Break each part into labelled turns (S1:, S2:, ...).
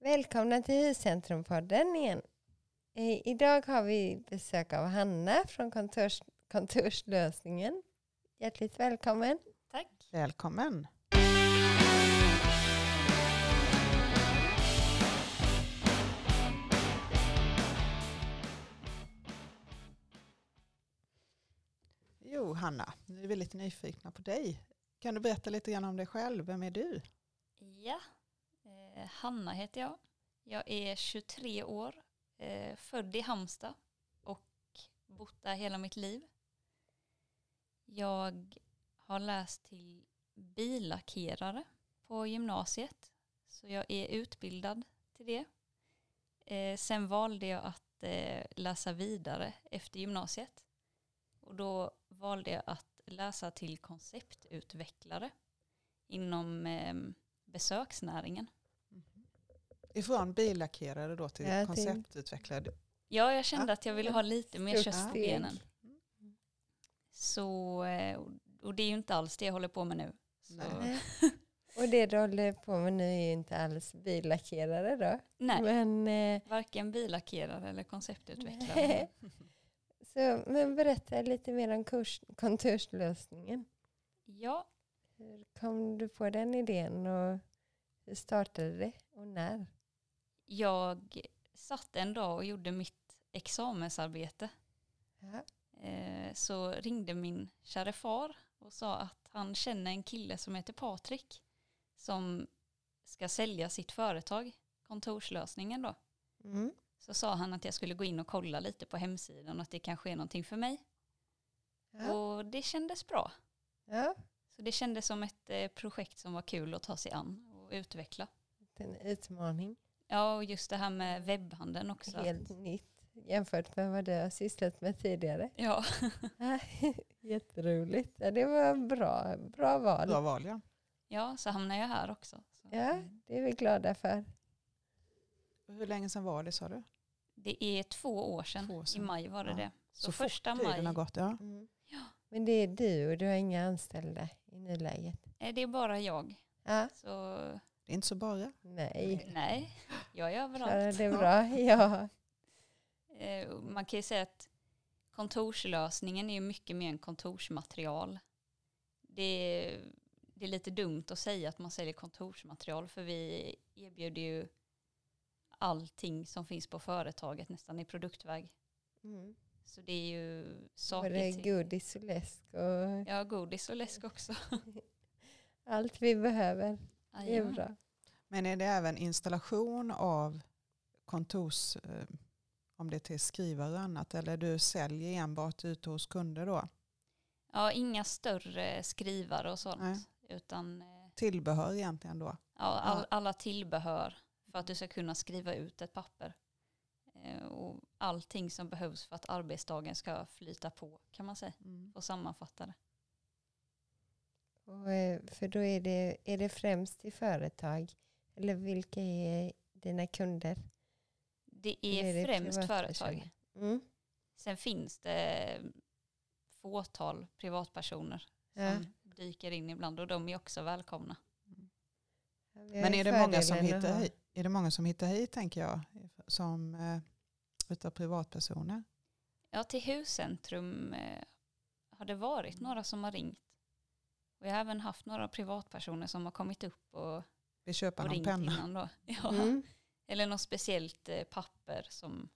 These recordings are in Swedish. S1: Välkomna till Huscentrumpodden igen. Eh, Idag har vi besök av Hanna från kontors, Kontorslösningen. Hjärtligt välkommen.
S2: Tack.
S3: Välkommen. Jo, Hanna, nu är vi lite nyfikna på dig. Kan du berätta lite grann om dig själv? Vem är du?
S2: Ja, eh, Hanna heter jag. Jag är 23 år, eh, född i Halmstad och bott där hela mitt liv. Jag har läst till billackerare på gymnasiet, så jag är utbildad till det. Eh, sen valde jag att eh, läsa vidare efter gymnasiet och då valde jag att läsa till konceptutvecklare inom ehm, besöksnäringen.
S3: Ifrån billackerare då till
S1: Ja, till-
S3: konceptutvecklare. Du-
S2: Ja, jag kände
S3: Ja.
S2: att jag ville ha lite mer
S1: Stort
S2: kött på
S1: steg.
S2: benen. Så, eh, och- och det är ju inte alls det jag håller på med nu. Så, nej.
S3: Nej.
S1: Eh, Och det du håller på med nu är ju inte alls billackerare då. Men, eh,
S2: varken billackerare eller konceptutvecklare.
S1: Nej. så, men berätta lite mer om kurs, Kontorslösningen.
S2: Ja,
S1: Hur kom du på den idén och hur startade det och när?
S2: jag satt en dag och gjorde mitt examensarbete.
S1: Ja.
S2: Eh, så ringde min käre far och sa att han känner en kille som heter Patrik som ska sälja sitt företag, kontorslösningen då.
S1: Mm.
S2: så sa han att jag skulle gå in och kolla lite på hemsidan och att det kanske är någonting för mig.
S1: Ja.
S2: Och det kändes bra.
S1: Ja.
S2: Så det kändes som ett eh, projekt som var kul att ta sig an och utveckla.
S1: En utmaning.
S2: Ja, och just det här med webbhandeln också. att-
S1: Helt nytt jämfört med vad du har sysslat med tidigare.
S2: Ja,
S1: Ja, Jätteroligt. Ja, det var bra, bra val.
S3: Bra val, ja.
S2: ja, så hamnar jag här också. Så.
S1: Ja, det är vi glada för.
S3: Och Hur länge sedan var det sa du?
S2: Det är två år sedan.
S3: Två år
S2: I
S3: sedan.
S2: maj var det
S3: Ja.
S2: det. Så,
S3: fort
S2: första maj.
S3: tiden har gått, ja.
S2: Ja.
S1: Men det är du och du har inga anställda i nuläget.
S2: Eh, Det är bara jag.
S1: Ja,
S2: Så
S3: Det är inte så bara.
S1: nej.
S2: nej, jag är
S1: Klarar
S2: överallt.
S1: det bra? Ja.
S2: Eh, och Man kan ju säga att kontorslösningen är ju mycket mer än kontorsmaterial. Det är, det är lite dumt att säga att man säljer kontorsmaterial för vi erbjuder ju allting som finns på företaget nästan i produktväg.
S1: Mm.
S2: Så det är ju saker
S1: Både
S2: till-
S1: godis och läsk och
S2: Ja, godis och läsk också.
S1: allt vi behöver. Det är
S2: Jajamän.
S1: bra.
S3: Men är det även installation av kontors, eh, om det är till skrivare och annat, eller du säljer enbart ute hos kunder då?
S2: Ja, inga större skrivare och sånt.
S3: Nej.
S2: Utan eh,
S3: Tillbehör egentligen då?
S2: Ja, all, alla tillbehör för att du ska kunna skriva ut ett papper. Eh, och allting som behövs för att arbetsdagen ska flyta på kan man säga
S3: Mm.
S2: och sammanfatta det.
S1: Och, eh, för då är det, är det främst i företag? Eller vilka är dina kunder?
S2: Det
S1: Eller
S2: är,
S1: det
S2: främst företag.
S1: privatpersoner? Mm.
S2: Sen finns det fåtal privatpersoner
S1: Ja.
S2: som dyker in ibland och de är också välkomna.
S1: Ja, vi har
S3: Men
S1: ju
S3: är det, många som
S1: fördelen att
S3: hittar
S1: ha-
S3: hit, är det många som hittar hit, tänker jag, som eh, utav privatpersoner?
S2: Ja, till huscentrum eh, har det varit några som har ringt. Och jag har även haft några privatpersoner som har kommit upp och,
S3: Vi köper
S2: och
S3: någon
S2: ringt
S3: penna.
S2: innan då. Ja.
S1: Mm.
S2: Eller något speciellt eh, papper som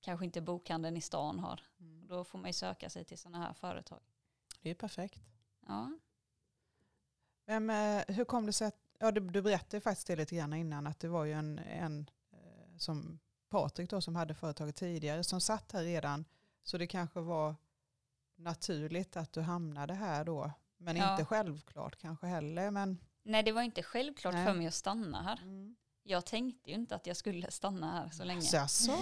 S2: kanske inte bokhandeln i stan har.
S3: Mm.
S2: Då får man ju söka sig till sådana här företag.
S3: Det är ju perfekt.
S2: Ja.
S3: Men, eh, hur kom det sig att, ja, du, du berättade ju faktiskt det lite grann innan, att det var ju en, en eh, som Patrik då, som hade företaget tidigare, som satt här redan, så det kanske var naturligt att du hamnade här då, men
S2: Ja.
S3: inte självklart kanske heller. Men,
S2: Nej, det var inte självklart
S3: Nej.
S2: för mig att stanna här.
S3: mm.
S2: Jag tänkte ju inte att jag skulle stanna här så länge.
S3: Så jag sa,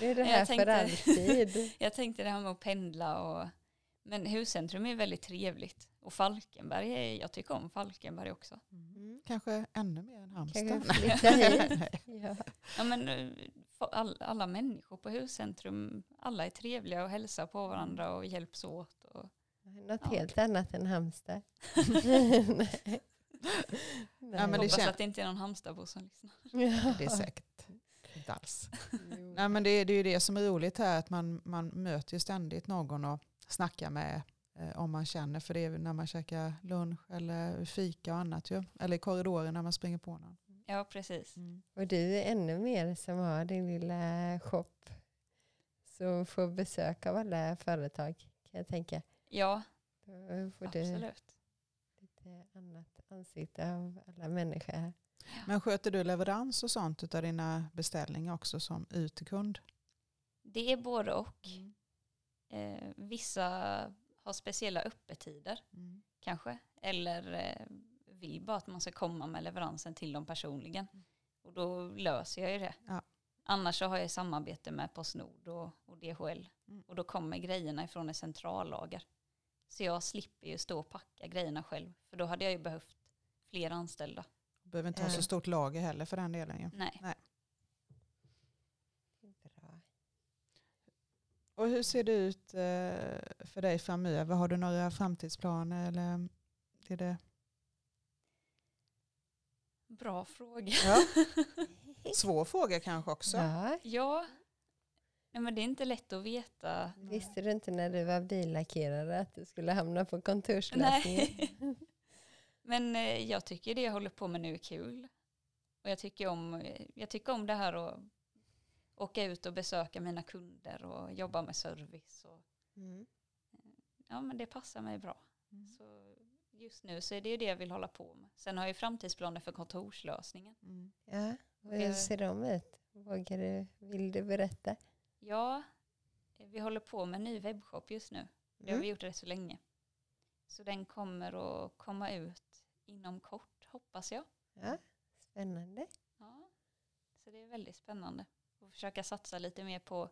S1: Det är det
S2: Jag
S1: här för
S2: tänkte-
S1: alltid.
S2: Jag tänkte det här med att pendla och... Men huscentrum är väldigt trevligt. Och Falkenberg, är... jag tycker om Falkenberg också.
S1: Mm.
S3: kanske ännu mer än
S1: Kanske
S3: Halmstad.
S1: flytta hit. Ja.
S2: Ja, men, eh, fa- all, alla människor på huscentrum, alla är trevliga och hälsar på varandra och hjälps åt. Och...
S1: Något
S2: Ja.
S1: helt annat än hamster. Nej.
S3: Ja, men det
S2: Hoppas
S3: kän-
S2: att det inte är någon Halmstadbo som lyssnar.
S3: Det är säkert inte alls. Nej, men det, det är ju det som är roligt här, att man, man möter ju ständigt någon och snackar med eh, om man känner för det är ju när man käkar lunch eller fika och annat ju. Eller i korridoren när man springer på någon.
S2: Ja, precis.
S3: Mm.
S1: Och du är ännu mer som har din lilla shop som får besök av alla företag kan jag tänka.
S2: Ja,
S1: Då får du
S2: absolut.
S1: lite annat ansikte av alla människor här.
S3: Men sköter du leverans och sånt av dina beställningar också som ut till kund?
S2: Det är både och.
S3: Mm.
S2: Eh, vissa har speciella öppettider
S3: Mm.
S2: kanske. Eller eh, vill bara att man ska komma med leveransen till dem personligen. Och då löser jag ju det.
S3: Ja.
S2: Annars så har jag samarbete med Postnord och, och DHL.
S3: Mm.
S2: Och då kommer grejerna ifrån ett centrallager. Så jag slipper ju stå och packa grejerna själv. För då hade jag ju behövt fler anställda.
S3: Behöver inte ha så
S1: Mm.
S3: stort lager heller för den delen ju.
S2: Nej.
S1: Bra.
S3: Och hur ser det ut eh, för dig framöver? Har du några framtidsplaner? Eller är det
S2: Bra fråga.
S3: ja. Svår fråga kanske också.
S1: Ja.
S2: Ja, Nej, men det är inte lätt att veta.
S1: Visste du inte när du var billackerare att du skulle hamna på kontorslösningen?
S2: Nej. Men eh, jag tycker det jag håller på med nu är kul. Och jag tycker om, eh, jag tycker om det här att åka ut och besöka mina kunder och jobba med service. Och,
S3: Mm.
S2: ja, men det passar mig bra.
S3: Mm.
S2: Så just nu så är det ju det jag vill hålla på med. Sen har jag ju framtidsplaner för kontorslösningen.
S3: Mm.
S1: Ja. Och hur
S2: Jag-
S1: ser de ut? Vågar du, vill du berätta?
S2: Eh, Ja, eh, vi håller på med en ny webbshop just nu. Det
S3: Mm.
S2: har vi gjort rätt så länge. Så den kommer att komma ut inom kort hoppas jag.
S1: Ja. Spännande.
S2: Ja. Så det är väldigt spännande. Och försöka satsa lite mer på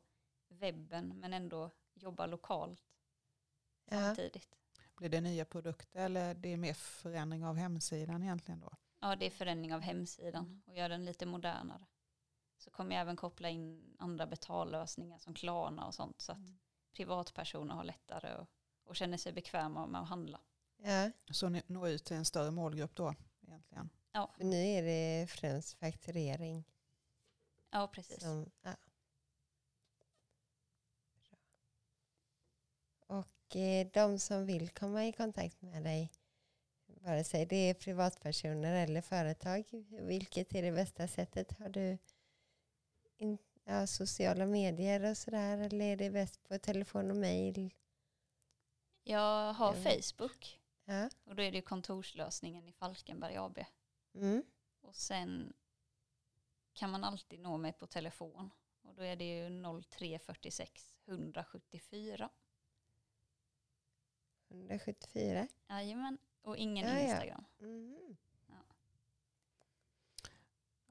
S2: webben men ändå jobba lokalt
S1: Ja.
S2: samtidigt.
S3: Blir det nya produkter eller det är mer förändring av hemsidan egentligen då?
S2: Ja, det är förändring av hemsidan och göra den lite modernare. Så kommer jag även koppla in andra betallösningar som Klarna och sånt så att privatpersoner har lättare och, och känner sig bekväma med att handla.
S1: Ja.
S3: Så ni når ut till en större målgrupp då egentligen?
S2: Ja,
S1: För nu är det främst fakturering.
S2: ja precis.
S1: Som, ja. Och eh, de som vill komma i kontakt med dig, vare sig det är privatpersoner eller företag, vilket är det bästa sättet? Har du in, ja, sociala medier och sådär eller är det bäst på telefon och mejl?
S2: Jag har
S1: Mm.
S2: Facebook
S1: Ja.
S2: och då är det ju kontorslösningen i Falkenberg AB.
S1: Mm.
S2: Och sen kan man alltid nå mig på telefon. Och då är det ju 0346 174.
S1: 174.
S2: Jajamän. Och ingen
S1: Ja, ja.
S2: Instagram.
S1: Mhm.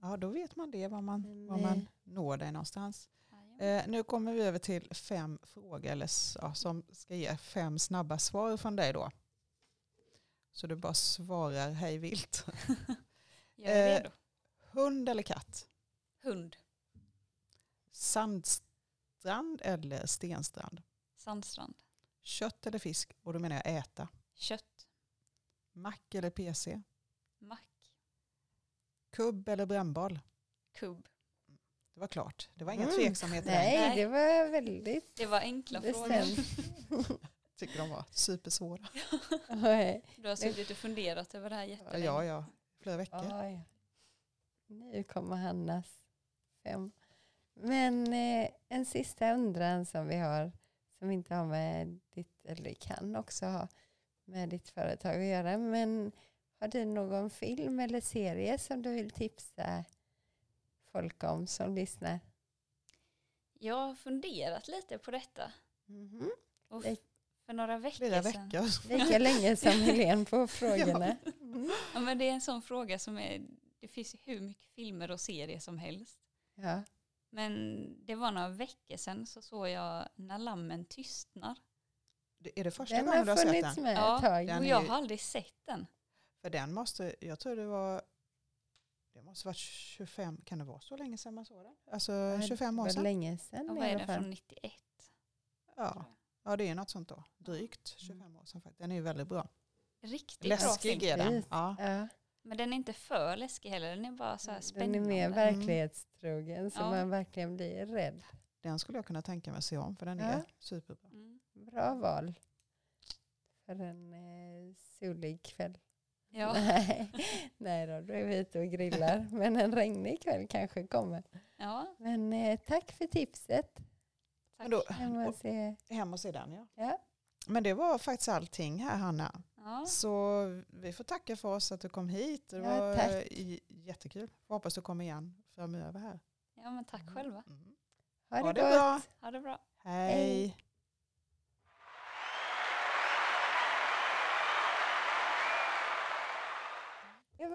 S3: Ja, då vet man det, var man,
S1: Men,
S3: var
S1: eh,
S3: man når dig någonstans.
S2: Jajamän.
S3: Eh, nu kommer vi över till fem frågor eller, s- ja, som ska ge fem snabba svar från dig då. Så du bara svarar hej vilt.
S2: Jag är
S3: eh,
S2: redo.
S3: Hund eller katt?
S2: Hund.
S3: Sandstrand eller stenstrand?
S2: Sandstrand.
S3: Kött eller fisk? Och då menar jag äta.
S2: Kött.
S3: Mac eller PC?
S2: Mack.
S3: Kubb eller brännboll?
S2: Kubb.
S3: Det var klart. Det var inga
S1: Mm.
S3: tveksamheter där.
S1: Nej,
S2: Nej.
S1: det var väldigt
S2: Det var enkla frågor.
S1: bestämt.
S3: Tycker de var supersvåra.
S1: Oj.
S2: Du har suttit och funderat över det här jättelänge.
S3: Ja, ja. Flera veckor.
S1: Oj. Nu kommer Hannas fem. Men eh, en sista undran som vi har, som inte har med ditt, eller kan också ha med ditt företag att göra, men har du någon film eller serie som du vill tipsa folk om som lyssnar?
S2: Jag har funderat lite på detta.
S1: Mhm.
S2: Och
S1: Det-
S2: f- för några veckor
S3: Flera
S2: sedan.
S3: veckor.
S1: Lika länge som Helene på frågorna. Mm.
S2: Ja, men det är en sån fråga som är, det finns ju hur mycket filmer och serier som helst.
S1: Ja.
S2: Men det var några veckor sedan så såg jag När lammen tystnar.
S3: Det- Är det första
S1: Den
S3: gången du
S1: har
S3: har sett
S1: funnits
S3: den?
S1: med
S2: Ja.
S1: ett tag.
S3: Den
S2: och
S3: är
S2: jag
S3: ju-
S2: har aldrig sett den.
S3: För den måste, jag tror det var, det måste varit 25, kan det vara så länge sedan man såg den? Alltså 25 år
S1: Det var
S3: sedan?
S1: länge sedan
S2: Ja,
S1: i
S2: vad är
S1: alla
S2: den
S1: fall.
S2: från 91?
S3: Ja. ja, det är något sånt
S1: Mm.
S3: då. Drygt 25 år sedan faktiskt. Den är ju väldigt bra.
S2: Riktigt bra
S3: Läskig
S2: film.
S3: är den.
S1: Precis.
S3: Ja.
S1: Ja.
S2: Men den är inte för läskig heller, den är bara så här
S1: Mm, Den
S2: spännande. Mm.
S1: är mer verklighetstrogen så
S2: Ja.
S1: man verkligen blir rädd.
S3: Den skulle jag kunna tänka mig att se om för den
S1: Ja.
S3: är superbra.
S2: Mm.
S1: Bra val. För en eh, solig kväll.
S2: Ja,
S1: Nej, nej då, då är vi ute och grillar. Men en regnig kväll kanske kommer.
S2: ja
S1: Men eh, tack för tipset.
S2: tack.
S3: då-
S1: Kan man
S3: Och-
S1: se.
S3: Hem och se den ja.
S1: Ja.
S3: Men det var faktiskt allting här Hanna.
S2: Ja,
S3: Så vi får tacka för oss att du kom hit. Det
S1: Ja,
S3: var
S1: tack.
S3: eh, j- jättekul. Får Hoppas du kommer igen framöver här.
S2: ja, men tack själva.
S3: Mm.
S1: Ha det,
S3: Ha det
S1: gott.
S3: bra.
S2: Ha det bra.
S3: Hej.
S1: Hej.